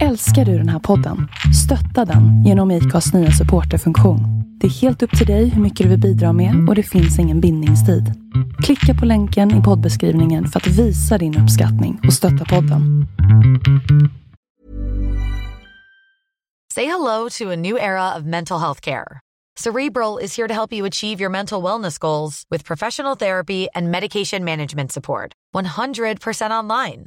Älskar du den här podden? Stötta den genom IKAs nya supporterfunktion. Det är helt upp till dig hur mycket du vill bidra med och det finns ingen bindningstid. Klicka på länken i poddbeskrivningen för att visa din uppskattning och stötta podden. Say hello to a new era of mental health care. Cerebral is here to help you achieve your mental wellness goals with professional therapy and medication management support. 100% online.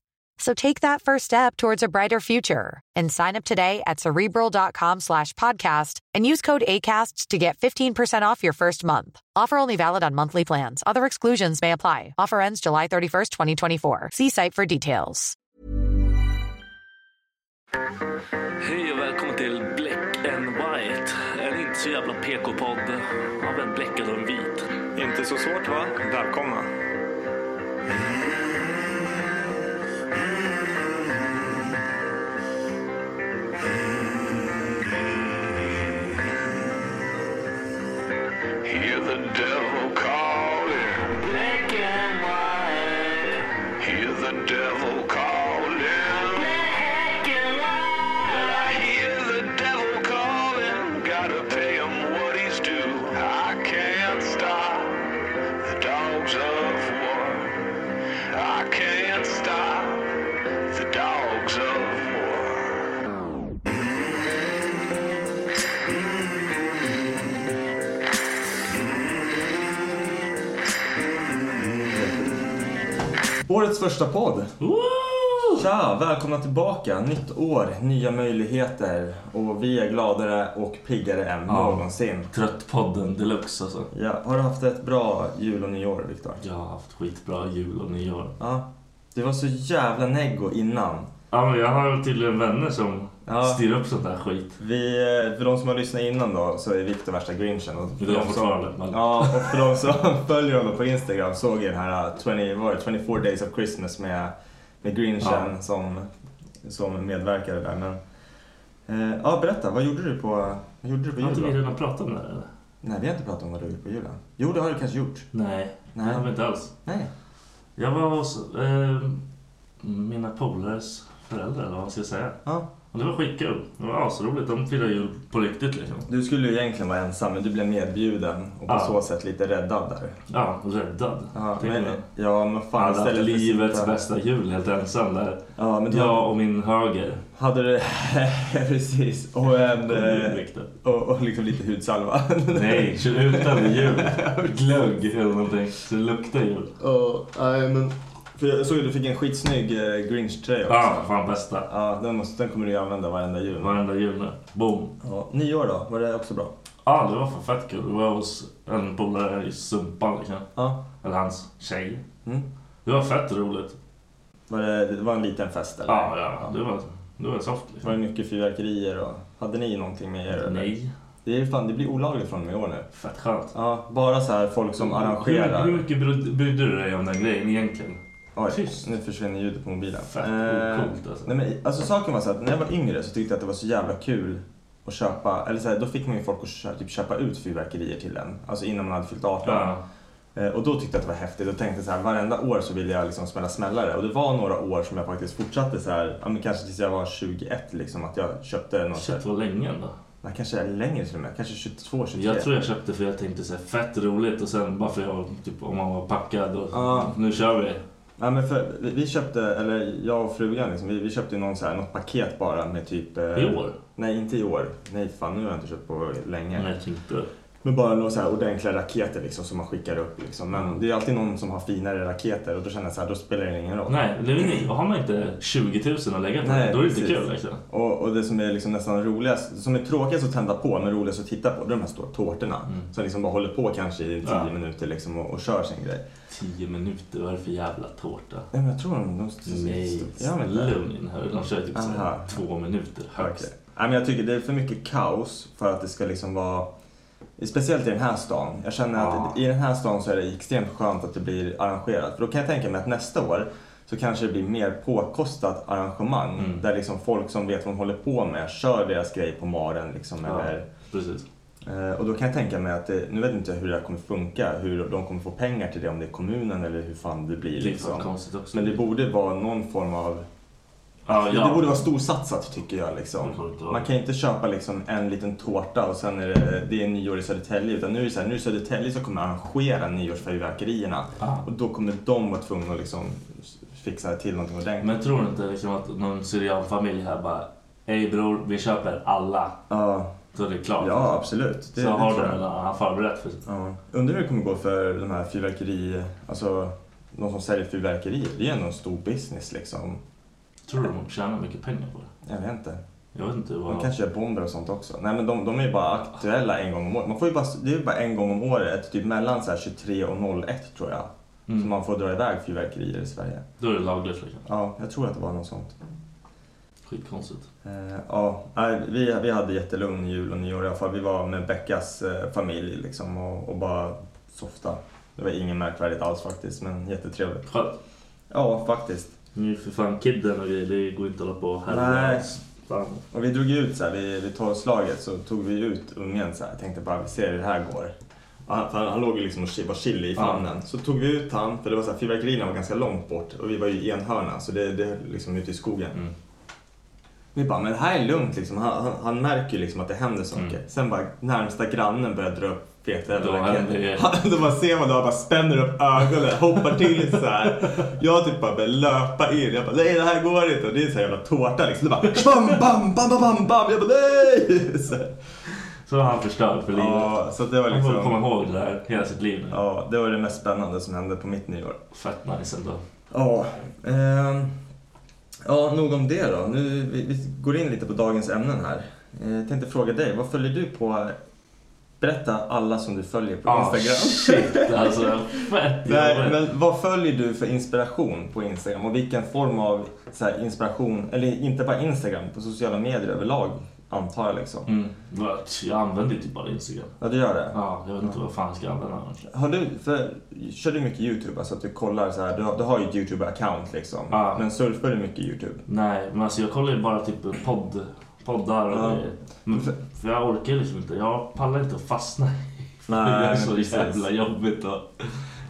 So take that first step towards a brighter future and sign up today at cerebral.com slash podcast and use code ACAST to get 15% off your first month. Offer only valid on monthly plans. Other exclusions may apply. Offer ends July 31st, 2024. See site for details. Hej och välkommen till Black and White. En inte så jävla PK-podd av en bläckad och en vit. Inte så svårt va? Välkomna. Hear the devil calling. Black and white. Hear the devil calling. Black and white. I hear the devil calling. Gotta pay him what he's due. I can't stop the dogs of war. I can't stop the dogs of war. Årets första podd. Tja, välkomna tillbaka. Nytt år, nya möjligheter och vi är gladare och piggare än någonsin. Trött podden deluxe alltså. Ja, har du haft ett bra jul och nyår, Viktor? Jag har haft skitbra jul och nyår. Ja. Du var så jävla neggo innan. Ja men jag har tydligen vänner som Ja. styr upp sånt där skit. Vi, eh, för de som har lyssnat innan då så är Viktor värsta grinchen. Och för Det är de jag som, fortfarande. Men... ja, och för de som följer honom på Instagram såg ju den här eh, 20, vad var det, 24 days of Christmas med, med grinchen Ja. som, som medverkade där. Men, eh, ja, berätta, vad gjorde du på, vad gjorde du på Har inte vi julen? redan pratat om det här, eller? Nej, vi har inte pratat om vad du gjorde på julen. Jo, det har du kanske gjort. Nej, Nej. det har vi inte alls. Nej. Jag var hos eh, mina polares föräldrar eller vad man ska säga. Ja. Och det var skitkul. Det var asroligt. De firar jul på riktigt liksom. Du skulle ju egentligen vara ensam, men du blev medbjuden och på Ja. så sätt lite räddad där. Ja, räddad. Ja, Tänk men, mig. ja, men Jag fan. hade haft istället för att livets sitta- bästa jul helt ensam där. Ja, men du Jag och min höger. Hade du... Precis. Och en... eh, Och, och liksom lite hudsalva. Nej, kör ut den jul. Glögg eller någonting. Så det luktar jul. Och, nej, men... För jag såg att du fick en skitsnygg eh, Grinch-tröja också. Ah, fan bästa. Ja, den, måste, den kommer du ju använda varenda jul. Varenda jul nu. Boom. Ja, nyår då, var det också bra? Ja, ah, det var fan fett kul. Det var hos en polare i Sumpan liksom. Ja. Eller hans tjej. Mm. Det var fett roligt. Var det, det var en liten fest eller? Ja, ah, ja. Det var, det var soft Var liksom. det mycket fyrverkerier och... Hade ni någonting med er? eller? Nej. Det, är ju fan, det blir olagligt från och med i år nu. Fett skönt. Ja, bara så här folk som Hur, hur arrangerar. mycket bryd- brydde du dig om den grejen egentligen? Oj, Tyst. nu försvinner ljudet på mobilen. Fett Eh, ocoolt alltså. Nej, men, alltså, saken var så att när jag var yngre så tyckte jag att det var så jävla kul att köpa, eller så här, då fick man ju folk att köpa, typ, köpa ut fyrverkerier till en. Alltså innan man hade fyllt 18. Ja. Eh, och då tyckte jag att det var häftigt och tänkte så här, varenda år så ville jag liksom smälla smällare. Och det var några år som jag faktiskt fortsatte så här, ja, men kanske tills jag var 21 liksom, att jag köpte något. så här- Shit vad länge ändå. Nej, kanske längre till och med, kanske 22, 23. Jag tror jag köpte för jag tänkte så här, fett roligt och sen bara för jag var, typ, om man var packad och Ja. nu kör vi. Ja, men för, vi, vi köpte, eller jag och frugan liksom, vi, vi köpte ju någon så här, något paket bara med typ... eh, I år? Nej, inte i år. Nej, fan nu har jag inte köpt på länge. Nej, jag tänkte. Men bara några så här ordentliga raketer liksom, som man skickar upp. Liksom. Men det är alltid någon som har finare raketer och då känner jag så här, då spelar det ingen roll. Nej, det är ju inget- har man inte 20 000 att lägga på Nej, då är det inte precis. kul liksom. Och, och det som är liksom nästan roligast, som är tråkigast att tända på men roligast att titta på, det är de här stora tårtorna. Som liksom bara håller på kanske i tio Mm. Ja. minuter liksom, och, och kör sin grej. 10 minuter, vad är det för jävla tårta? Nej men jag tror de... de, de Nej, jag vet inte. lugn. Hör. De kör typ så här Aha. två minuter högst. Okej. Nej, men jag tycker det är för mycket kaos för att det ska liksom vara... Speciellt i den här stan. Jag känner att i den här stan så är det extremt skönt att det blir arrangerat. För då kan jag tänka mig att nästa år så kanske det blir mer påkostat arrangemang. Mm. Där liksom folk som vet vad de håller på med kör deras grej på maren. Liksom, eller, Precis. Eh, Och då kan jag tänka mig att det, nu vet inte jag hur det här kommer funka, hur de kommer få pengar till det, om det är kommunen eller hur fan det blir. Det är fan liksom. konstigt också. Men det borde vara någon form av, ja, ja. det borde vara storsatsat tycker jag. Liksom. Det borde vara. Man kan inte köpa liksom en liten tårta och sen är det, det är nyår i Södertälje, utan nu är det så här, nu är det Södertälje som kommer arrangera nyårsfyrverkerierna. Ah. Och då kommer de vara tvungna att liksom fixa till någonting ordentligt. Men tror du inte liksom att någon syrianfamilj här bara Ey bror, vi köper alla. Ja, Då är det klart. ja, absolut. Det, så det har tror de jag. en annan förberett för Ja. Undrar hur det kommer gå för de här fyrverkeri... Alltså, de som säljer fyrverkerier. Det är ändå en stor business liksom. Tror du de tjänar mycket pengar på det? Jag vet inte. Jag vet inte De vad... kanske gör bomber och sånt också. Nej men de, de är ju bara aktuella en gång om året. Man får ju bara, det är ju bara en gång om året, typ mellan så här 23 och 01 tror jag. Mm. Som man får dra iväg fyrverkerier i Sverige. Då är det lagligt liksom. Ja, jag tror att det var något sånt. Skitkonstigt. Eh, ja, nej, vi, vi hade jättelugn jul och nyår i alla fall. Vi var med Beckas eh, familj liksom och, och bara softa. Det var inget märkvärdigt alls faktiskt, men jättetrevligt. Skönt. Ja, faktiskt. Nu är för fan kidden och grejer, det går inte att hålla på här. Nej. Fan. Och vi drog ju ut så här, vid, vid tolvslaget så tog vi ut ungen så här, tänkte bara vi ser hur det här går. Och Han, för han, han låg ju liksom och chi- var chili i famnen. Så tog vi ut han, för det var så här, fyrverkerierna var ganska långt bort och vi var ju i en hörna så det, det höll liksom ute i skogen. Vi bara, men det här är lugnt liksom. Han, han, han märker ju liksom att det händer saker. Sen bara närmsta grannen börjar dra upp feta Mm. Då jävla händer raketer. det. Han- Då bara ser man då, han bara spänner upp ögonen, hoppar till så här. Jag typ bara börjar löpa in. Jag bara, nej det här går inte. Och det är så här jävla tårta liksom. Det bara, bam, bam, bam, bam, bam, bam. Jag bara, nej! Så, här. Så har han förstört för livet. ja, så att det var han får komma liksom, ihåg det där hela sitt liv nu. ja, det var det mest spännande som hände på mitt nyår. Fett nice ändå. Ja, ehm, ja nog om det då. Nu, vi, vi går in lite på dagens ämnen här. Eh, Jag tänkte fråga dig, vad följer du på? Berätta alla som du följer på Ah, Instagram. Shit alltså, fett Nej, jobbigt. men vad följer du för inspiration på Instagram och vilken form av så här, inspiration, eller inte bara Instagram, på sociala medier överlag antar jag liksom. Mm. Vad- Jag använder ju typ bara Instagram. Ja, du gör det. Ja, jag vet inte vad fan jag ska använda den annars. Har du, för, kör du mycket YouTube? Alltså att du kollar så här, du, har- du har ju ett YouTube-account liksom. Ja. Men surfar du mycket YouTube? Nej, men alltså jag kollar ju bara typ podd, poddar och Ja. grejer. Men för, för jag orkar liksom inte. Jag pallar inte att fastna. i- Nej, det är men så precis. jävla jobbigt. Och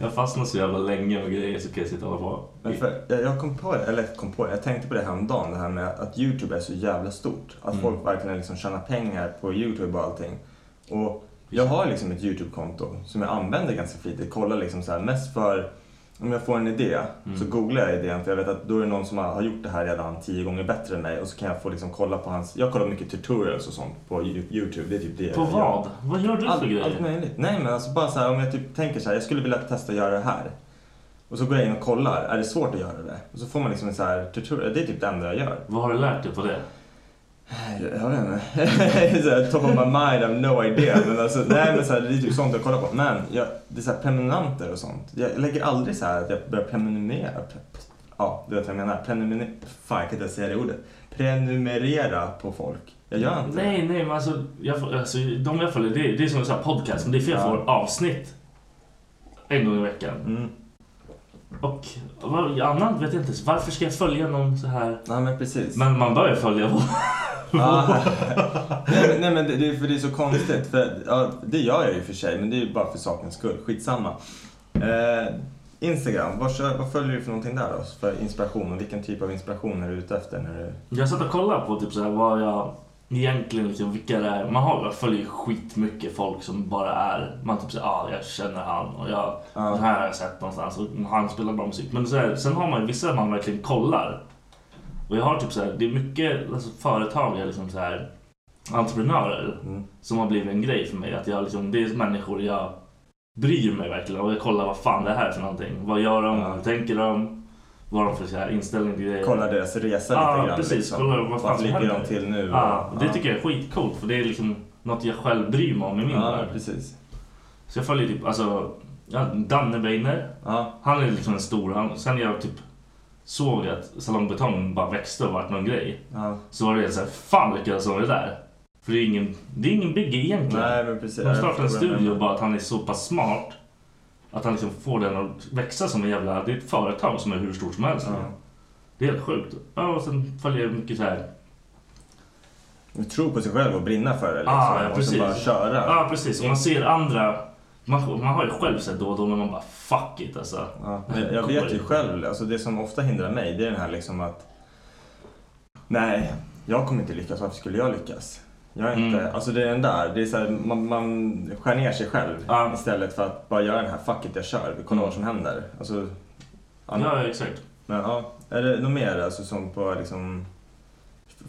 jag fastnar så jävla länge med grejer så kan jag sitta och hålla på. Men för, jag- jag kom på det, eller kom på det, jag tänkte på det häromdagen, det här med att YouTube är så jävla stort. Att Mm. folk verkligen liksom tjänar pengar på YouTube och allting. Och jag har liksom ett YouTube-konto som jag använder ganska flitigt. Kollar liksom så här, mest för, om jag får en idé Mm. så googlar jag idén för jag vet att då är det någon som har har gjort det här redan tio gånger bättre än mig och så kan jag få liksom kolla på hans, jag kollar mycket tutorials och sånt på Yo- YouTube. Det är typ det På jag gör. vad? Vad gör du för Allt, grejer? allt möjligt. Nej men alltså bara så här, om jag typ tänker så här, jag skulle vilja testa att göra det här. Och så går jag in och kollar, är det svårt att göra det? Och så får man liksom en så här tutorial, det är typ det enda jag gör. Vad har du lärt dig på det? Jag vet inte. så här, top of my mind, I have no idea. Men alltså, nej men så här, det är typ sånt jag kollar på. Men jag, det är så här prenumeranter och sånt. Jag lägger aldrig så här att jag börjar prenumerera. Pre- Ja, du vet vad jag menar. Prenumerera, fan jag kan inte ens säga det ordet. Prenumerera på folk. Jag gör inte det. Nej, nej, men alltså, jag, får- alltså de jag följer, det, är- det är som en sån här podcast, men det är för jag får avsnitt en gång i veckan. Mm. Och vad, annat vet jag inte, ens. varför ska jag följa någon så här? Nej men precis. Men man bör ju följa vad Ah. nej, men- nej men det, det, är- för det är så konstigt. För, ja, det gör jag ju för sig, men det är ju bara för sakens skull. Skitsamma. Eh, Instagram, vad, kör, vad följer du för någonting där då? För inspiration och vilken typ av inspiration är du ute efter? När du... Jag satt och kollade på typ så här vad jag egentligen liksom, vilka det är. Man har, jag följer ju skitmycket folk som bara är, man typ såhär, ah, jag känner han och jag, den här har jag sett någonstans och han spelar bra musik. Men så här, sen har man ju vissa man verkligen kollar. Och jag har typ så här, det är mycket alltså, företagare, liksom så här, entreprenörer som har blivit en grej för mig. Att jag liksom, det är människor jag bryr mig verkligen och jag kollar vad fan det här är för någonting. Vad gör de? Ja. Hur tänker de? Vad har de för så här inställning till grejer? Kollar deras resa Ja, lite grann. liksom? precis. Kollar vad fan Vart som ligger händer. de till nu? Ja, Och- det tycker jag är skitcoolt för det är liksom något jag själv bryr mig om i min Ja, värld. precis. Så jag följer typ alltså, ja, Danne Weiner. Ja, Han är liksom en stor. Han, sen är jag typ såg jag att Salong Betong bara växte och vart någon grej. Ja. Så var det helt såhär, fan vilka som är där. För det är ingen, det är ingen bygge egentligen. Nej, men precis. De startar en Jag förstår vad du studio och menar. bara att han är så pass smart att han liksom får den att växa som en jävla... Det är ett företag som är hur stort som helst. Ja. Det är helt sjukt. Ja, och sen följer jag mycket så här... Du tror på sig själv och brinna för det. Liksom. Ah, ja, och precis. så bara köra. Ja, precis. Och man ser andra... Man, man har ju själv sett då och då när man bara fuck it alltså. Ja, men jag, jag vet ju själv, alltså det som ofta hindrar mig det är den här liksom att nej, jag kommer inte lyckas, varför skulle jag lyckas? Jag är inte, Mm. alltså det är den där, det är så här, man, man skär ner sig själv Ja. Mm. istället för att bara göra den här fuck it, jag kör, vi kollar vad som händer. Alltså, ja, Ja, ja exakt. Men, ja, är det något mer alltså som på liksom,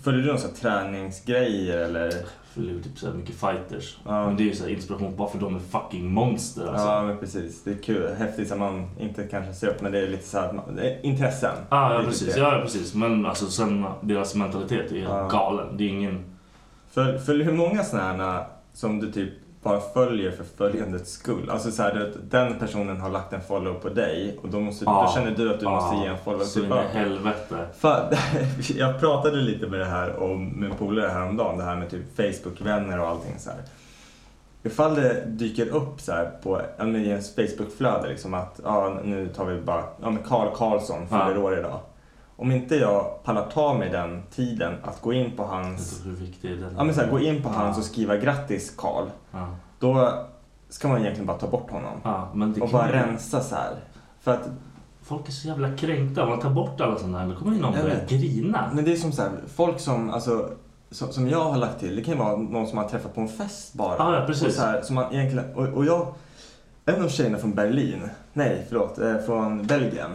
följer du några så här träningsgrejer eller? Följer typ så här mycket fighters. Ja. Men det är ju så här inspiration bara för de är fucking monster alltså. Ja men precis, det är kul, häftigt att man inte kanske ser upp men det är lite så här, att man- det är intressen. Ah, Det är ja, typ precis. det. Ja, ja, precis. Men alltså sen deras mentalitet är helt Ja. galen. Det är ingen... För, för hur många sådana här som du typ bara följer för följandets skull? Alltså så här, du, den personen har lagt en follow på dig och då, måste, Ja. då känner du att du måste ge en follow Så in i tillbaka. helvete. Fan, jag pratade lite med det här om min polare häromdagen, det här med typ Facebook-vänner och allting så här. Ifall det dyker upp så här på ja, men i ens Facebook-flöde liksom att ja, nu tar vi bara, ja men Karl Karlsson fyller Ja. år idag. Om inte jag pallar ta mig den tiden att gå in på hans Hur viktig är den? Ja men så här, gå in på Ja. hans och skriva grattis Karl. Ja. Då ska man egentligen bara ta bort honom. Ja, men det Och kan bara ju- rensa så här. För att, Folk är så jävla kränkta. Om man tar bort alla sådana här, då kommer ju någon Jag börja vet. grina. men det är som så här, folk som, alltså, som, som jag har lagt till, det kan ju vara någon som man träffat på en fest bara. Ja, ja, precis. Och, så här, som man egentligen, och, och jag, en av tjejerna från Berlin, nej förlåt, eh, från Belgien,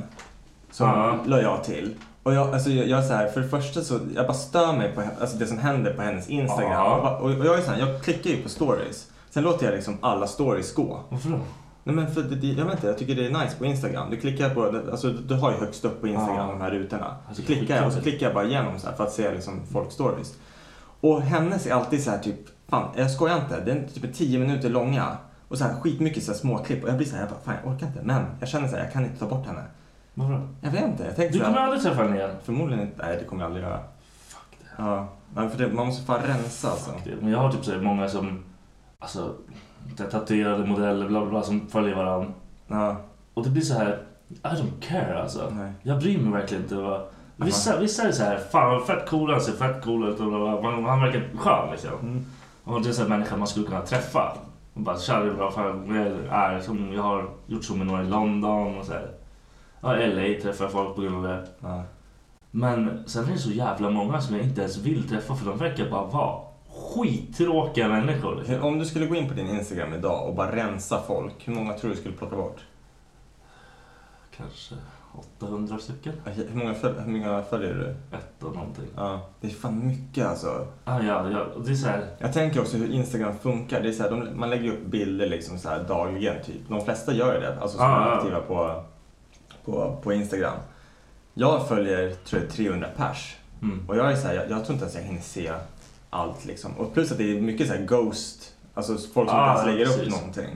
som Ja. la jag till. Och jag, alltså, jag, jag är så här, för det första så, jag bara stör mig på he- alltså, det som händer på hennes Instagram. Ja. Jag bara- Och, och jag är så här, jag klickar ju på stories. Sen låter jag liksom alla stories gå. Varför då? Nej men för det- det, jag vet inte, jag tycker det är nice på Instagram. Du klickar på, alltså du har ju högst upp på Instagram Ja. de här rutorna. Alltså, Så klickar jag och så skitkul. klickar jag bara igenom så här för att se liksom folk stories. Och hennes är alltid så här typ, fan jag skojar inte, det är typ 10 minuter långa. Och så här skitmycket så här småklipp och jag blir så här, jag bara, fan jag orkar inte. Men jag känner så här, jag kan inte ta bort henne. Varför då? Jag vet inte, jag tänkte Du så kommer här, aldrig träffa henne igen. förmodligen inte, nej det kommer jag aldrig göra. Ja, nej, för det, man måste fan rensa alltså. Men jag har typ så här många som, alltså, så här tatuerade modeller bla bla bla som följer varandra. Ja, Och det blir så här, I don't care alltså. Nej. Jag bryr mig verkligen inte. Vad... Vissa, vissa är så här, fan vad fett cool han ser fett cool ut och bla, bla, bla. Han, han verkar skön liksom. Och det är så här människa man skulle kunna träffa. Och bara, tja det är bra, fan, jag, är, som, jag har gjort så med några i London och så här. Ja, i LA träffar jag folk på grund av det. ja. Men sen är det så jävla många som jag inte ens vill träffa för de verkar bara vara skittråkiga människor. Liksom. Hur- Om du skulle gå in på din Instagram idag och bara rensa folk, hur många tror du skulle plocka bort? Kanske 800 stycken? Okej, Hur många, föl- hur många följer du? Ett och någonting. Ja, det är fan mycket alltså. Ah, ja, ja, och det är så här, Jag tänker också hur Instagram funkar. Det är så här, de, man lägger ju upp bilder liksom så här dagligen typ. De flesta gör ju det, alltså som Ja, är ja. aktiva på, på, på Instagram. Jag följer tror jag 300 pers. Mm. Och jag är så här, jag, jag tror inte ens jag hinner se allt liksom. Och plus att det är mycket så här ghost, alltså folk som Ah, inte ens lägger upp precis. någonting.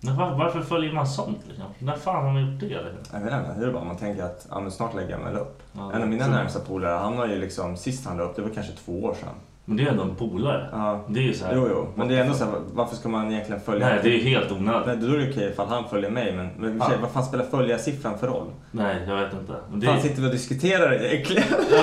Men var, varför följer man sånt liksom? När fan har man gjort det? Liksom? Jag vet inte, det är bara man tänker att ja, men snart lägger jag väl upp. Ja, en av mina så- närmsta polare, han har ju liksom, sist han la upp, det var kanske två år sedan. Men det är ändå en polare. Ja. Det är ju så här, Jo, jo, men det är ändå så här, varför ska man egentligen följa? Nej, det är ju helt onödigt. Nej, då är det okej ifall han följer mig, men, men i och för sig, Ja. vad fan spelar följarsiffran för roll? Nej, jag vet inte. Men det, Fan är, sitter vi och diskuterar det egentligen? Ja,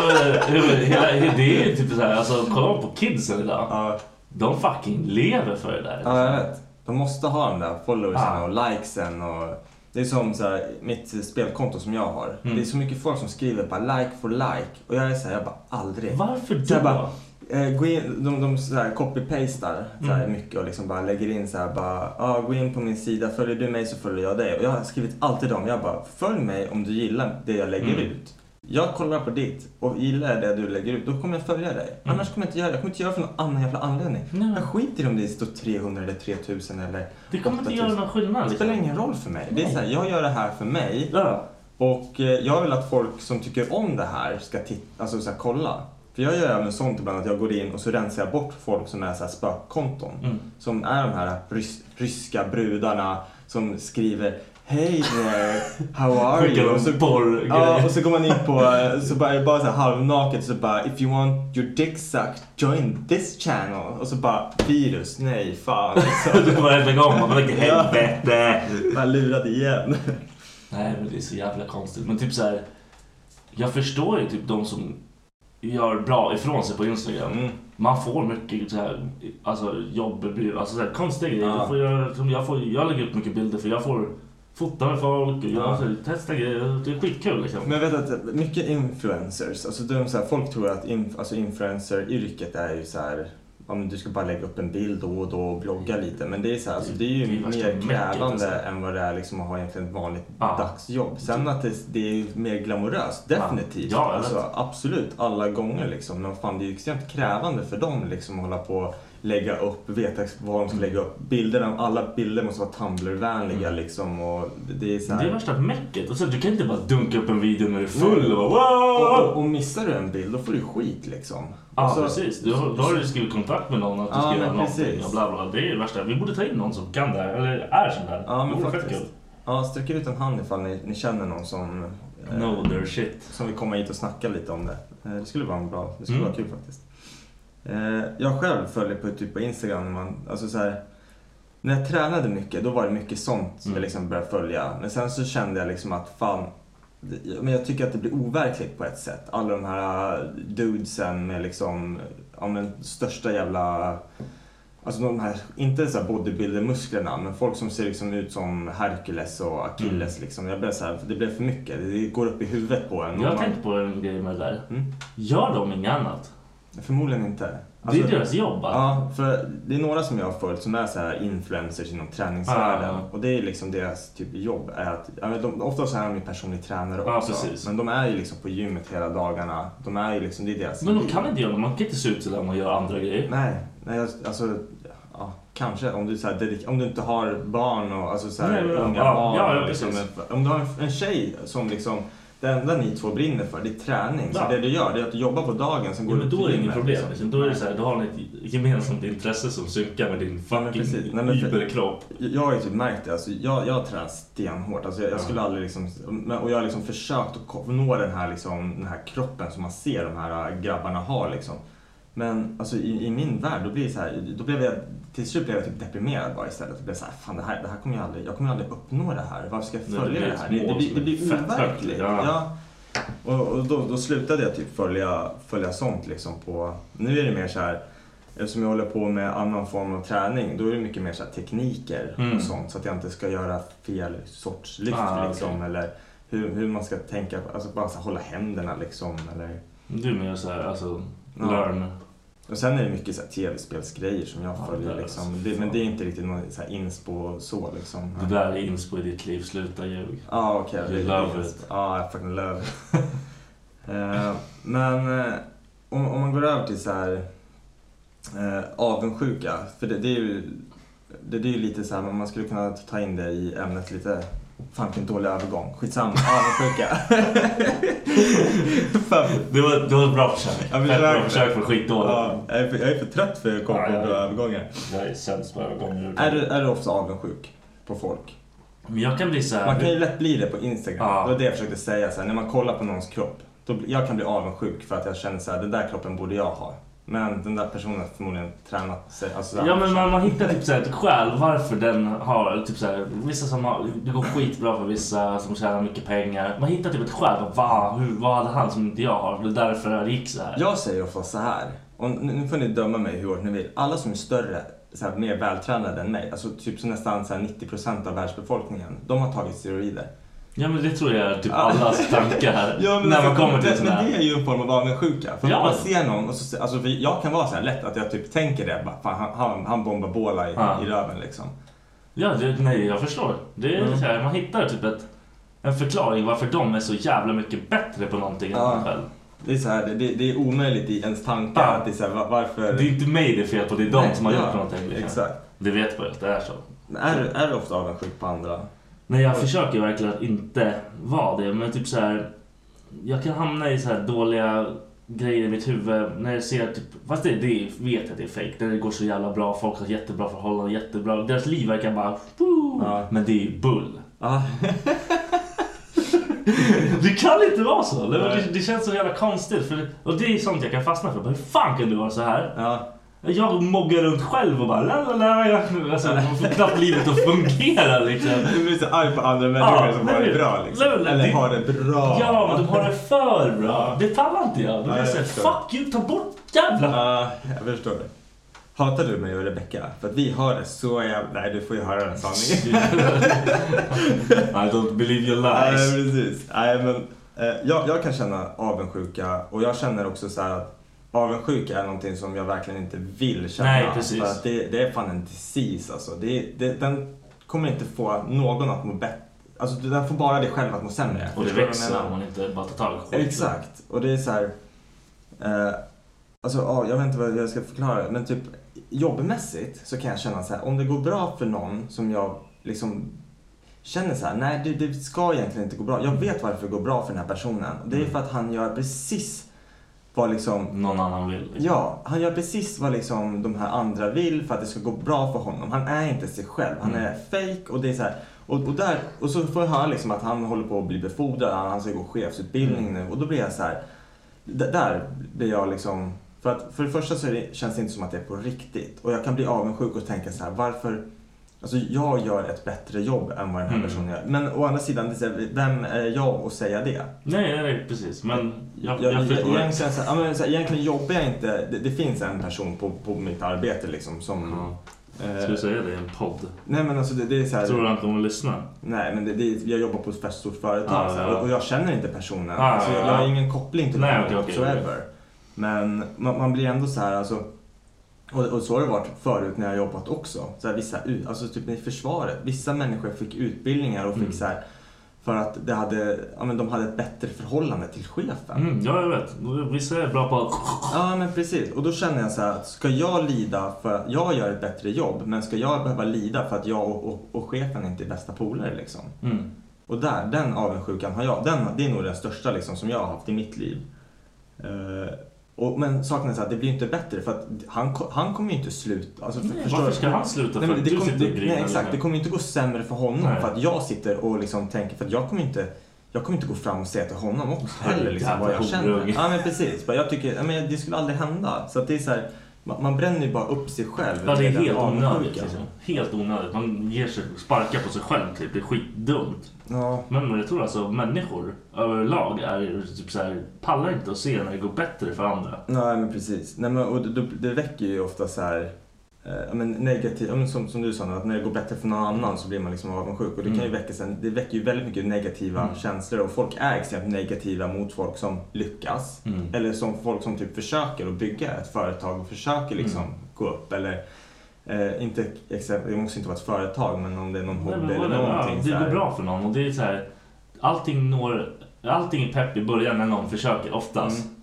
men- hela, det är ju typ så här, alltså kolla på kidsen idag. Ja, De fucking lever för det där. liksom. ja, jag vet. De måste ha de där followersen Ja. och likesen och... Det är som så här, mitt spelkonto som jag har. Mm. Det är så mycket folk som skriver bara like for like och jag är såhär, jag bara aldrig. liksom. Varför Så då? jag bara, eh, gå in, de de så här copy-pastar så här Mm. mycket och liksom bara lägger in så här bara, ah, gå in på min sida, följer du mig så följer jag dig. Och jag har skrivit alltid dem, jag bara, följ mig om du gillar det jag Mm. lägger ut. Jag kollar på ditt och gillar jag det du lägger ut, då kommer jag följa dig. Annars kommer jag inte göra det. Jag kommer inte göra det för någon annan jävla anledning. Mm. Nej. Jag skiter i om det står 300 eller 3000 eller det kommer inte 8000. göra någon skillnad. Det Liksom. spelar ingen roll för mig. Det är så här, jag gör det här för mig. Ja. Och eh, jag vill att folk som tycker om det här ska titta, alltså så här, kolla. För jag gör även sånt ibland att jag går in och så rensar jag bort folk som är så här spökkonton. Som är de här rys- ryska brudarna som skriver Hej there, how are Skickar you? de Och så, porr- ja, grejer. och så går man in på, eh, så bara, är det bara så här halvnaket så bara if you want your dick sucked join this channel. Och så bara virus, nej fan. Du Så, kommer att lägga om och bara lägga Ja. helvete. bara lurad igen. Nej men det är så jävla konstigt. Men typ så här. Jag förstår ju typ de som gör bra ifrån sig på Instagram. Mm. Man får mycket så här, alltså jobberbjud, alltså så här konstiga grejer. Ja. Jag, får, göra- som jag, får, jag lägger upp mycket bilder för jag får fota med folk och Ja. jag får testa grejer. Det är skitkul liksom. Men jag vet att mycket influencers, alltså de så här, folk tror att inf- alltså influencer-yrket är ju så här, ja, men du ska bara lägga upp en bild då och då och blogga lite. Men det är, så här, alltså, det är ju Mm. Det är värsta mer mäcket, krävande alltså. än vad det är liksom, att ha egentligen ett vanligt Ja. dagsjobb. Sen att det, det är mer glamoröst, Ja. definitivt. Ja, jag vet. alltså, absolut, alla gånger liksom. Men fan, det är ju extremt krävande för dem liksom, att hålla på och lägga upp, veta vad de Mm. ska lägga upp. Bilderna, alla bilder måste vara Tumblr-vänliga liksom. Och det är så här, Det är värsta mäcket. Och så, du kan inte bara dunka upp en video när du är full och bara wow! Mm. Och, och, och missar du en bild, då får du skit liksom. Ja Och så- precis, du har, då har du skrivit kontrakt med någon att du Ja, ska göra men någonting precis. och bla bla. Det är det värsta. Vi borde ta in någon som kan det här, eller är sån här. Ja, det men vore fett faktiskt. kul. Ja, sträck ut en hand ifall ni, ni känner någon som, eh, No their shit. som vill komma hit och snacka lite om det. Eh, det skulle vara en bra, det skulle Mm. vara kul faktiskt. Eh, jag själv följer på typ på Instagram när man, alltså så här, när jag tränade mycket, då var det mycket sånt som Mm. jag liksom började följa. Men sen så kände jag liksom att fan, det- men jag tycker att det blir overkligt på ett sätt. Alla de här eh, dudesen med liksom, ja men största jävla Alltså de här, inte så här bodybuilder-musklerna, men folk som ser liksom ut som Hercules och Achilles. Liksom. Jag blev så här, det blev för mycket. Det går upp i huvudet på en. Mm. Jag har Och man- tänkt på en grej med det där. Mm. Gör de inget annat? Förmodligen inte. Alltså, det är deras jobb. att- Ja, för det är några som jag har följt som är så här influencers inom träningsvärlden. Ah. Och det är liksom deras typ jobb. Är att, ja, men de, oftast är de ju personlig tränare Ja, också. precis. men de är ju liksom på gymmet hela dagarna. De är ju liksom, det är deras Men de liv. kan inte göra det. Man kan inte se ut sådär om man gör andra grejer. Nej, nej jag- alltså ja, kanske om du, så här, dedik- om du inte har barn och alltså, så här, Nej, men- unga ja, barn. ja, ja, liksom, precis. Men om du har en, en tjej som liksom det enda ni två brinner för det är träning. Ja. Så det du gör det är att du jobbar på dagen sen Ja, går du men då är det till inget gymmet, problem. liksom. Liksom. Då är det så här, då har ni ett gemensamt intresse som synkar med din Ja, men precis. fucking Nej, men för- überkropp. Jag har ju typ märkt det. Alltså, jag, jag tränar stenhårt. Alltså, jag, jag skulle aldrig liksom, men- och jag har liksom försökt att ko- nå den här, liksom, den här kroppen som man ser de här äh, grabbarna har. Liksom. Men alltså, i, i min värld, då blir det så här, då blev jag, till slut blev jag typ deprimerad bara istället. Jag blev så här, fan det här, det här kommer jag aldrig, jag kommer aldrig uppnå det här. Varför ska jag Nej, det följa blir det, ett här? Det, det, mål blir, det som är blir fett högt, overkligt. ja. Ja. Och, och då, då slutade jag typ följa, följa sånt liksom på... Nu är det mer så här, eftersom jag håller på med annan form av träning, då är det mycket mer så här tekniker Mm. och sånt. Så att jag inte ska göra fel sorts lyft Ah, liksom. okej. Eller hur, hur man ska tänka, alltså bara så här, hålla händerna liksom. Eller... Du menar så här, alltså, Ja. learn. Och sen är det mycket så här tv-spelsgrejer som jag Ja, det följer där är så liksom. Det, men det är inte riktigt någon så här inspo så liksom. Det där är inspo i ditt liv, sluta ljug. Ja, ah, okej. You det- love det- it. Ja, I fucking love it. Eh, men eh, om, om man går över till så här eh, avundsjuka. För det, det är ju det, det är ju lite så här, man skulle kunna ta in det i ämnet lite. Fan vilken dålig övergång. Skitsamma, avundsjuka. Fan. Det var, det var ett bra försök. Ja, men Fett jag- bra försök för skitdåligt. Ja, jag, är för, jag är för trött för att komma på Ja, ja, bra ja. övergångar. Jag är sämst på övergångar. Är du, är du också avundsjuk på folk? Men jag kan bli så här... Man kan ju lätt bli det på Instagram. Ja. Det var det jag försökte säga. Så här, när man kollar på någons kropp. Då, bli- jag kan bli avundsjuk för att jag känner så här, den där kroppen borde jag ha. Men den där personen har förmodligen tränat sig. Alltså, så här- Ja men man, man hittar typ såhär ett skäl varför den har, typ såhär, vissa som har, det går skitbra för vissa som tjänar mycket pengar. Man hittar typ ett skäl, bara, va, hur, vad hade han som inte jag har? Det är därför det gick så här. Jag säger ofta så här. Och nu nu får ni döma mig hur hårt ni vill. Alla som är större, så här, mer vältränade än mig. Alltså typ så nästan så här, 90% av världsbefolkningen. De har tagit steroider. Ja men det tror jag är typ allas tankar när man kommer till alltså, det, sådana men det här. är ju en form av avundsjuka. För Ja. man ser någon och så, alltså, för jag kan vara så här lätt att jag typ tänker det. Bara, fan, han, han, han bombar båla i, Ja. i röven liksom. Ja, det, nej jag förstår. Det är Mm. så här, man hittar typ ett, en förklaring varför de är så jävla mycket bättre på någonting än Ja. man själv. Det är, så här, det, det är omöjligt i ens tankar. Ja. Att det är så här, va- varför... Det är inte mig det är fel på, det är de Nej, som har gjort ja, någonting. Liksom. Exakt. Det vet man ju att det är så. Men Är, du- är du ofta avundsjuk på andra? Nej, jag försöker verkligen att inte vara det. Men typ så här, jag kan hamna i så här dåliga grejer i mitt huvud när jag ser typ, fast det, det vet jag att det är fejk. När det går så jävla bra, folk har jättebra förhållanden, jättebra, deras liv verkar bara, Ja. men det är ju bull. Ja. Det kan inte vara så! Det, Nej. det, det känns så jävla konstigt. För, och det är sånt jag kan fastna för. Hur fan kan du vara så här? ja. Jag moggar runt själv och bara la la la. jag- Alltså, man får knappt livet att fungera liksom. Du blir så arg på andra människor Ja, som nej, har det nej. bra liksom. Nej, nej, Eller det- har det bra. Ja, men de har det för bra. Det pallar inte jag. Då Nej, är jag jag såhär, förstår. fuck you, ta bort jävla... Ja, jag förstår det. Hatar du mig och Rebecca? För att vi har det så jävla... Nej, du får ju höra den här sanningen. I don't believe your Nej, lies. precis. Nej, men, eh, jag, jag kan känna avundsjuka och jag känner också så här att avundsjuka är någonting som jag verkligen inte vill känna. Nej, precis. För att det, det är fan en disease alltså. Det, det, den kommer inte få någon att må bättre. Alltså den får bara dig själv att må sämre. Och det Förstår du vad jag växer menar? om man inte bara tar tag i skiten. Exakt. Och det är så här... Eh, alltså, ja, jag vet inte vad jag ska förklara. Men typ jobbmässigt så kan jag känna så här. Om det går bra för någon som jag liksom känner så här. Nej, det, det ska egentligen inte gå bra. Jag vet varför det går bra för den här personen. Och det är för att han gör precis vad liksom... Någon annan vill. liksom. Ja, han gör precis vad liksom de här andra vill för att det ska gå bra för honom. Han är inte sig själv, han är fake och det är så här. Och, och, där, och så får jag höra liksom att han håller på att bli befordrad, han- han ska gå chefsutbildning nu och då blir jag så här. d- Där blir jag liksom... För, att, för det första så är det, känns det inte som att det är på riktigt. Och jag kan bli avundsjuk och tänka så här, varför... Alltså jag gör ett bättre jobb än vad den här Mm. personen gör. Men å andra sidan, det är så här, vem är jag att säga det? Nej, nej, nej, precis. Men jag, jag, Jag, jag, förstår. egentligen, så här, ja, men så här, egentligen jobbar jag inte. Det, det finns en person på, på mitt arbete liksom som... Ja. eh, Ska jag säga det i en podd? nej men alltså det, det är så här, Tror du han kommer att lyssna? Nej men det, det, är- jag jobbar på ett stort företag Ah, så här, ja. och, och jag känner inte personen. Ah, alltså, jag, ja, jag har ja. ingen koppling till Nej, honom okej, okej, whatsoever. Men man, man blir ändå så här alltså. Och, och så har det varit förut när jag har jobbat också. Så här, vissa, ut- alltså typ i försvaret. Vissa människor fick utbildningar och fick Mm. så här för att det hade, ja, men de hade ett bättre förhållande till chefen. Mm, ja, jag vet. Vissa är bra på att... Ja, men precis. Och då känner jag så här, att ska jag lida för att jag gör ett bättre jobb, men ska jag behöva lida för att jag och, och, och chefen inte är bästa polare liksom? Mm. Och där, den avundsjukan har jag. Den, det är nog den största liksom, som jag har haft i mitt liv. Eh, och, men saken är så här, det blir ju inte bättre för att han, ko- han kommer ju inte sluta. Alltså, för- förstår Varför du? ska han sluta Nej, för att men det du kommer, sitter och liksom. det, grinar? nej, exakt. Det kommer ju inte gå sämre för honom Nej. för att jag sitter och liksom tänker för att jag kommer inte jag kommer inte gå fram och säga till honom också heller liksom, vad jag Jävla känner. horunge. Ja men precis. Bara Jag tycker, ja, men det skulle aldrig hända. Så att det är så här, man, man bränner ju bara upp sig själv. Ja, det är med den helt avundsjukan. onödigt. Liksom. Helt onödigt. Man ger sig, sparkar på sig själv typ. Det är skitdumt. Ja, Men jag tror alltså människor överlag är typ så här, pallar inte att se när det går bättre för andra. nej men precis. Nej, men, och det, det väcker ju ofta så här, eh, ja, men negativ, ja, men som, som du sa nu, att när det går bättre för någon annan så blir man liksom avundsjuk. Och det, kan ju Mm. väcka, sen- det väcker ju väldigt mycket negativa känslor och folk är extremt negativa mot folk som lyckas. Mm. Eller som folk som typ försöker att bygga ett företag och försöker liksom Mm. gå upp. Eller, eh, inte, exem- det måste inte vara ett företag, men om det är någon Nej, hobby men eller vad det, ja, någonting. det så går här. bra för någon och det är så här, allting, når, allting är pepp i början när någon försöker oftast. Mm.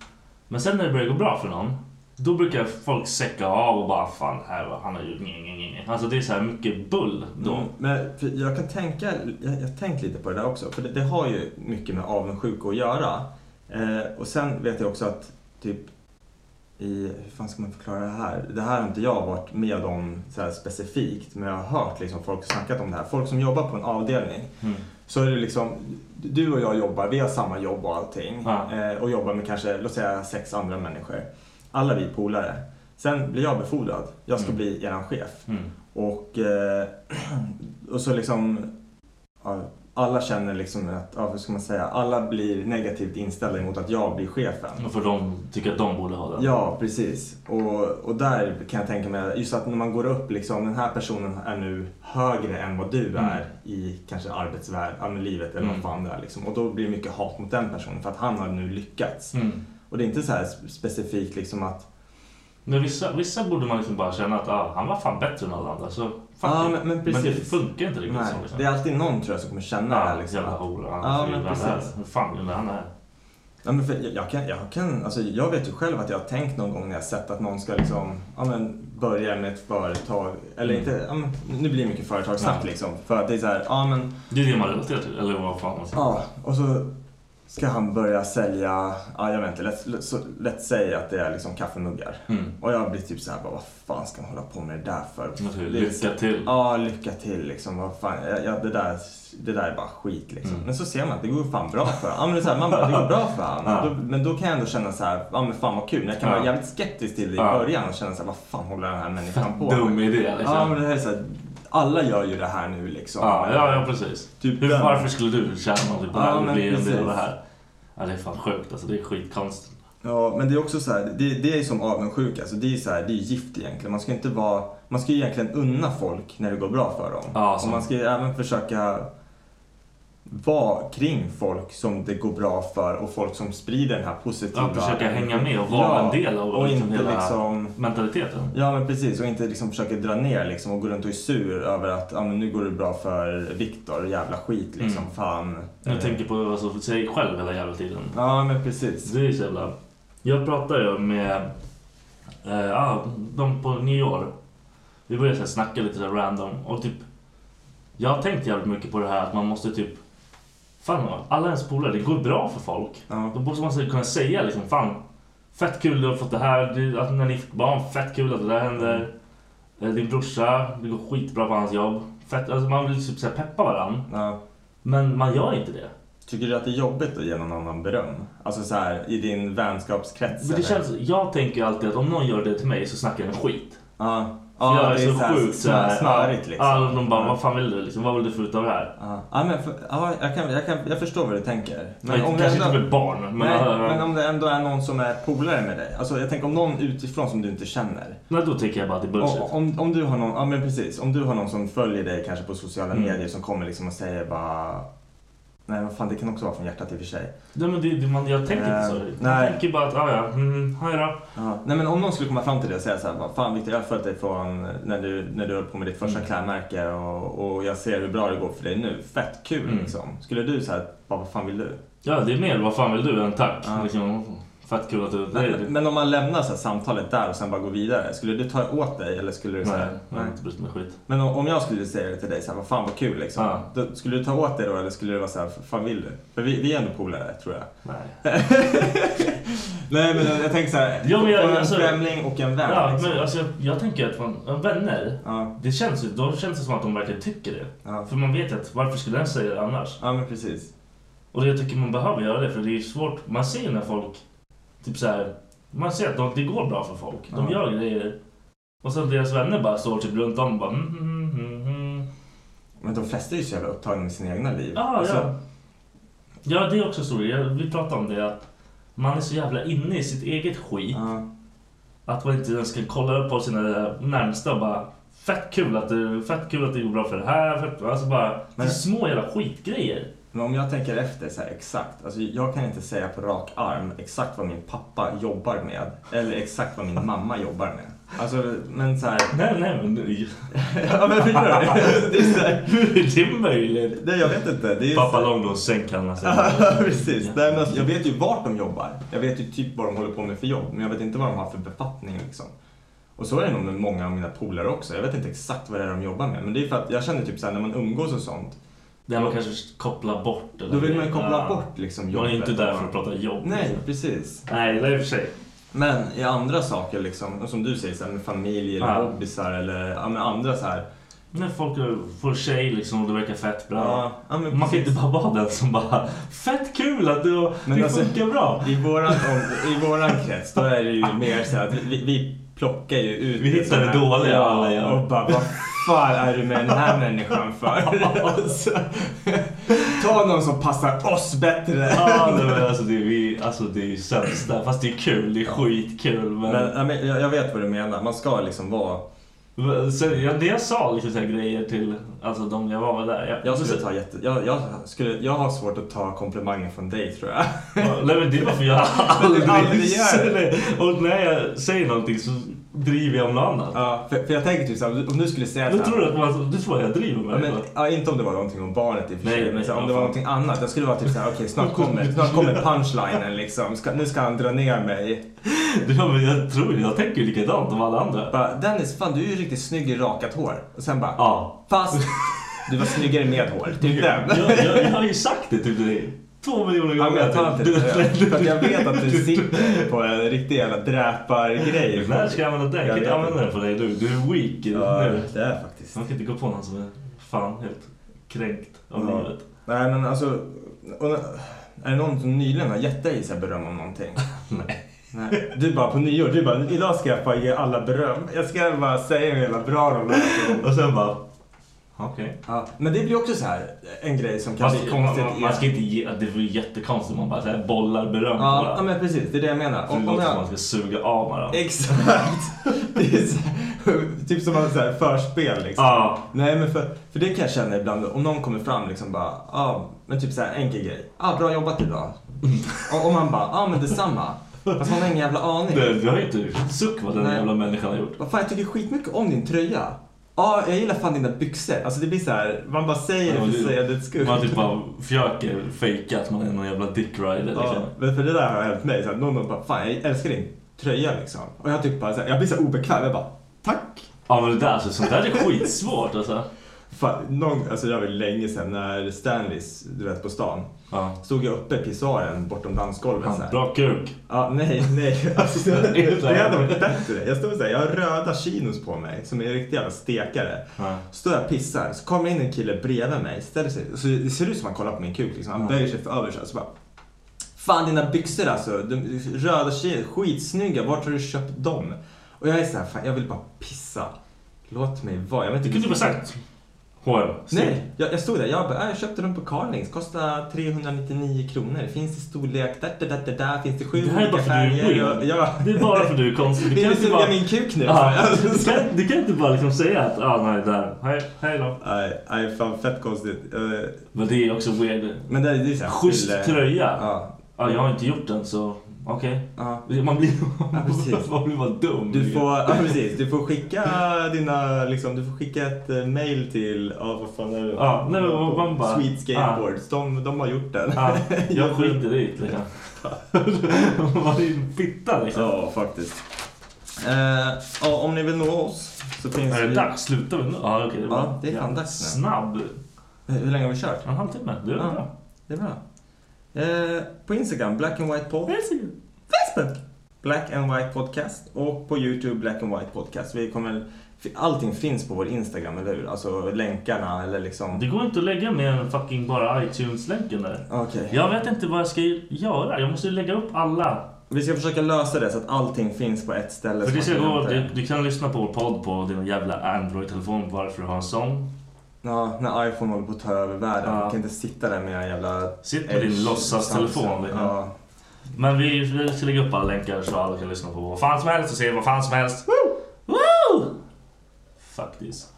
Men sen när det börjar gå bra för någon, då brukar folk säcka av och bara fan här var- han har gjort nj, nj, nj. Alltså det är så här mycket bull då. Mm, Men för jag kan tänka, jag jag har tänkt lite på det där också, för det, det har ju mycket med avundsjuka att göra. Eh, och sen vet jag också att typ i, hur fan ska man förklara det här? Det här har inte jag varit med om så här specifikt, men jag har hört liksom folk snackat om det här. Folk som jobbar på en avdelning, Mm. så är det liksom, du och jag jobbar, vi har samma jobb och allting. Ja. Eh, och jobbar med kanske, låt säga sex andra människor. Alla vi är polare. Sen blir jag befordrad, jag ska Mm. bli eran chef. Mm. Och, eh, och så liksom, ja, alla känner liksom att, ja, hur ska man säga, alla blir negativt inställda mot att jag blir chefen. Och För de tycker att de borde ha den. Ja, precis. Och, och där kan jag tänka mig, just att när man går upp, liksom, den här personen är nu högre än vad du Mm. är i kanske arbetsvärld, ja, men livet eller Mm. vad fan det är. Liksom. Och då blir det mycket hat mot den personen för att han har nu lyckats. Mm. Och det är inte så här specifikt liksom att Men vissa, vissa borde man liksom bara känna att ah, han var fan bättre än alla andra. Så, fuck Ja, it. men- men det precis. funkar inte riktigt Nej, så. Liksom. det är alltid någon tror jag som kommer känna det här. Ja, Liksom, jävla att, hora. alltså, Ja, Han men ja, precis. Hur fan kunde han det här? Ja, men för jag, jag, kan, jag, kan, alltså, jag vet ju själv att jag har tänkt någon gång när jag sett att någon ska liksom, ja, men, börja med ett företag. Eller Mm. inte, ja, men, nu blir det mycket företagssnack Ja. liksom. För att det är så här, ja men, typ. Det är det man relaterar till. Eller vad fan man säger. ja. Och så ska han börja sälja, ja jag vet inte, let's, let's, let's säga att det är liksom kaffemuggar. Mm. Och jag blir typ så här, bara, vad fan ska man hålla på med det där för? Naturligt. Det Alltså, är- Lycka till. Ja, lycka till liksom. Vad fan, ja, det, där, det där är bara skit liksom. Mm. Men så ser man att det går fan bra för honom. Ja, men det är så här, man bara, det går bra för honom. Ja. Då, men då kan jag ändå känna så här, ja men fan vad kul. Men jag kan vara Ja. jävligt skeptisk till det i Ja. början och känna så här, vad fan håller den här människan på med? Dum idé liksom. Ja, men det här är så här, alla gör ju det här nu liksom. Ja, ja, ja precis. Typ Hur, den. varför skulle du tjäna någonting på det Ja, här? eller men bli en del av precis. det här? Ja, det är fan sjukt alltså. Det är skitkonstigt. Ja, men det är också så här, det, det är ju som avundsjuka. Alltså det är så här, det är ju gift egentligen. Man ska inte vara, man ska ju egentligen unna folk när det går bra för dem. Ja, så. och man ska ju även försöka vara kring folk som det går bra för och folk som sprider den här positiva... Att försöka hänga med och vara Ja, en del av och inte hela liksom- mentaliteten. Ja men precis och inte liksom försöka dra ner liksom och gå runt och är sur över att ah, men nu går det bra för Viktor, jävla skit liksom, Mm. fan. Jag Eh, tänker på alltså, sig själv hela jävla tiden. Ja men precis. Det är ju så jävla... Jag pratade ju med eh, ah, de på nyår. Vi började så här, snacka lite så här, random och typ... Jag har tänkt jävligt mycket på det här att man måste typ... Fan, alla ens polare, det går bra för folk. Ja. Då måste man så här kunna säga liksom fan, fett kul du har fått det här, du, att när ni fick barn, fett kul att det där händer. Eh, Din brorsa, det går skitbra på hans jobb. Fett, alltså man vill typ så här peppa varandra, Ja. men man gör inte det. Tycker du att det är jobbigt att ge någon annan beröm? Alltså så här, i din Men vänskapskrets? det eller? känns, jag tänker ju alltid att om någon gör det till mig så snackar den skit. Ja. För Ja, jag det är så här så här, smör- Smörigt liksom. Ja, de bara, Ja. vad fan vill du liksom? Vad vill du få ut av det här? Ja, Ja, men för, ja, jag, kan, jag, kan, jag förstår vad du tänker. Men om det Kanske inte ändå- med barn, men... Nej, äh, men om det ändå är någon som är polare med dig. Alltså jag tänker om någon utifrån som du inte känner. nej, då tänker jag bara att det är bullshit. Om, om, om du har någon, ja men precis. Om du har någon som följer dig kanske på sociala Mm. medier som kommer liksom och säger bara... Nej vad fan det kan också vara från hjärtat i och för sig. Nej, men det, det, man, jag tänker inte så. Eh, Jag nej. tänker bara att, ah, ja, mm, hej då. Ja. Nej men om någon skulle komma fram till dig och säga så här, bara, fan Victor jag har följt dig från när du, när du höll på med ditt första klädmärke och, och jag ser hur bra det går för dig nu. Fett kul Mm. liksom. Skulle du säga, bara, vad fan vill du? Ja, det är mer vad fan vill du än tack. Ja. Liksom, fett kul att du... Det, Men, det, men om man lämnar så här samtalet där och sen bara går vidare, skulle du ta åt dig eller skulle du nej, säga... jag har inte brytt mig skit. Men om om jag skulle säga det till dig, så här, vad fan vad kul liksom. Ja. Då, skulle du ta åt dig då eller skulle du vara så här, fan vill du? För vi, vi är ändå polare tror jag. Nej. Nej men jag, jag tänker så här, Jo, men jag- på en alltså- främling och en vän. Ja, liksom. men alltså, jag, jag tänker att man, ja, vänner, Ja. det känns, ju- då känns det som att de verkligen tycker det. Ja. För man vet ju att varför skulle den säga det annars? ja men precis. Och jag tycker man behöver göra det för det är ju svårt. Man ser ju när folk, typ så här, man ser att de, det går bra för folk. De Ja. gör grejer. Och sen deras vänner bara står typ runt om och bara mm, mm, mm, mm. Men de flesta är ju så jävla upptagna med sina egna liv. Ah, Ja, Alltså, ja. Ja, det är också stor grej. Vi pratade om det att man är så jävla inne i sitt eget skit. ja. Att man inte ens kan kolla upp på sina närmsta och bara Fett kul att det, fett kul att det går bra för det här. Fett, alltså bara, det är Men- små jävla skitgrejer. Men om jag tänker efter så här exakt, alltså jag kan inte säga på rak arm exakt vad min pappa jobbar med eller exakt vad min mamma jobbar med. Alltså, men så här... Nej, nej, men det, Ja men förstår du? Det är så här, hur är det möjligt? nej jag vet inte. Det är Pappa Långbås, sen kan man säga. Ja, Precis. Nej, men alltså, jag vet ju vart de jobbar. Jag vet ju typ vad de håller på med för jobb. Men jag vet inte vad de har för befattning liksom. Och så är det nog med många av mina polare också. Jag vet inte exakt vad det är de jobbar med. Men det är för att jag känner typ såhär när man umgås och sånt. Där man kanske kopplar bort. Eller Då vill man ju koppla Ja. bort liksom Man jobbet. är inte där för att prata jobb. Nej, liksom. precis. Nej, det är i och för sig. Men i andra saker liksom, och som du säger, så här, med familj eller Ja. hobbysar eller ja, men andra så här. När folk får tjej liksom och det verkar fett bra. Ja, ja, men Man kan precis. inte bara vara den som bara Fett kul att du, Men det alltså- funkar bra. I våran, om, I våran krets, då är det ju mer så här att vi, vi plockar ju ut... Vi hittar det dåliga alla gör. ja, Och bara, vad fan är du med den här människan för? alltså, ta någon som passar oss bättre. Ja, nej, men alltså, det är, vi, alltså det är ju sämsta. Fast det är kul, det är skitkul. Men, Men, ja, men jag, jag vet vad du menar, man ska liksom vara... men sen, ja, det jag sa liksom så här grejer till alltså, de jag var med där. Jag, Jag skulle, ta jätte, jag, jag, skulle, jag har svårt att ta komplimanger från dig tror jag. nej men det var för jag du aldrig aldrig gör Och när jag säger någonting så driver jag om något annat. Ja, för, för jag tänker typ såhär, om du- om du skulle säga Jag så här- tror att man, du tror att jag driver med Ja, men, det. ja, inte om det var någonting om barnet i och för Nej, sig, men så, nej, ja, om det fan. var någonting annat. Jag skulle vara typ såhär, okej snart kommer, snart kommer punchlinen liksom. Ska, nu ska han dra ner mig. Ja, men jag tror jag tänker ju likadant om alla andra. Bara, Dennis, fan du är ju riktigt snygg i rakat hår. Och sen bara, Ja. fast du var snyggare med hår. Typ den. Jag, jag, jag har ju sagt det typ till dig. Två miljoner Ja, men gånger. jag tar inte det Du- seriöst. För att jag vet att du sitter på en riktig jävla dräpargrej. När ska jag använda den? Jag kan Jag inte använda vet den på dig. Du, du är weak i Ja, nu. det är faktiskt. Man kan inte gå på någon som är fan helt kränkt av Ja. livet. Nej men alltså, och, är det någon som nyligen har gett dig så här beröm om någonting? Nej. Nej. Du bara på nyår, du bara idag ska jag bara ge alla beröm. Jag ska bara säga hur jävla bra de är. Och sen bara... Okej. Ja, men det blir också så här en grej som kan Man, bli ska- man, konstigt. man, i- man ska inte ge... Det vore jättekonstigt om man bara så här bollar beröm på ja, ja varandra. men precis, det är det jag menar. Det Om, om låter som att jag... man ska suga av varandra. Exakt! Det är så här, typ som att så här förspel liksom. Ja. Nej men för, för det kan jag känna ibland om någon kommer fram liksom bara, ja ah, men typ såhär enkel grej. Ah bra jobbat idag. Och, och man bara, ja ah, men detsamma. Fast man har ingen jävla aning. Du, du har ju inte suck vad den Nej. jävla människan har gjort. Vad fan jag tycker skitmycket om din tröja. Ja jag gillar fan dina byxor. Alltså det blir såhär, man bara säger det för att säga det skull. Man typ bara försöker fejka att man är någon jävla dickrider liksom. Ja, men för det där har hänt mig. Såhär, någon har bara, fan jag älskar din tröja liksom. Och jag typ bara, såhär, jag blir så här obekväm. Jag bara, tack. Ja men det där, alltså, sånt där är skitsvårt alltså. Fan, någon, alltså jag var länge sedan när Stanleys, du vet på stan. Ja. Stod jag uppe i pissoaren bortom dansgolvet så här. Bra kuk. Ja, nej, nej. Alltså, det, Det är så här. det hade varit bättre. Jag stod så här, jag har röda chinos på mig som är riktiga jävla stekare. Ja. Står jag och pissar, så kommer in en kille bredvid mig, ställer sig, så det ser ut som han kollar på min kuk liksom. Han Ja. böjer sig för över så här, så bara. Fan dina byxor alltså, de, röda chinos, skitsnygga, vart har du köpt dem? Och jag är så här, fan jag vill bara pissa. Låt mig vara. Jag vet Det inte kunde du bara sagt. H&M. Snyggt. Nej, jag, jag stod där. Jag, bara, "Ah, jag köpte dem på Carlings. Kostar 399 kronor. Finns i storlek där, där, där, där, där. Finns det sju Det här är bara olika för att du är färger. weird. Jag, jag, Det är bara för att du är konstig. Du vill kan du inte suga bara... min kuk nu? Ja, du, Alltså, kan, du kan inte bara liksom säga att ah, nej, där. Hej, hej då. Nej, nej, fan fett konstigt. Eh, Men det är också weird. Men det, det är såhär... Schysst tröja. Ja. Ja, jag har inte gjort den så okej. ja. Man blir precis. man blir bara dum. Du får, ja, precis, du får skicka dina, liksom, du får skicka ett eh, mail till, ja vad fan är det? Ja, nej, men man- man bara- Sweet Skateboards, de, de har gjort den. Ja, jag skiter i det liksom. Man är ju en fitta liksom. Ja, faktiskt. Eh, ja, om ni vill nå oss så finns Är det vi... dags? Slutar vi nu? Ja, okej. var Ja, det är fan dags nu. Snabb. Eh, Hur länge har vi kört? En halvtimme. Det är Ja. bra. Det är bra. Eh, på Instagram, Black and White Pod. Facebook! Black and White Podcast. Och på YouTube, Black and White Podcast. Vi kommer... Allting finns på vår Instagram, eller hur? Alltså länkarna eller liksom... Det går inte att lägga mer än fucking bara iTunes-länken där. Okej. Jag vet inte vad jag ska göra. Jag måste ju lägga upp alla. Vi ska försöka lösa det så att allting finns på ett ställe. För så det ska typ- man kan gå, hämta det. du, du kan lyssna på vår podd på din jävla Android-telefon bara för att ha en sång. Ja, när iPhone håller på att ta över världen. Ja. Man kan inte sitta där med en jävla... Sitt med din låtsastelefon. liksom. Ja. Men vi vi ska lägga upp alla länkar så alla kan lyssna på vad fan som helst och se vad fan som helst. Woo! Woo! Fuck this.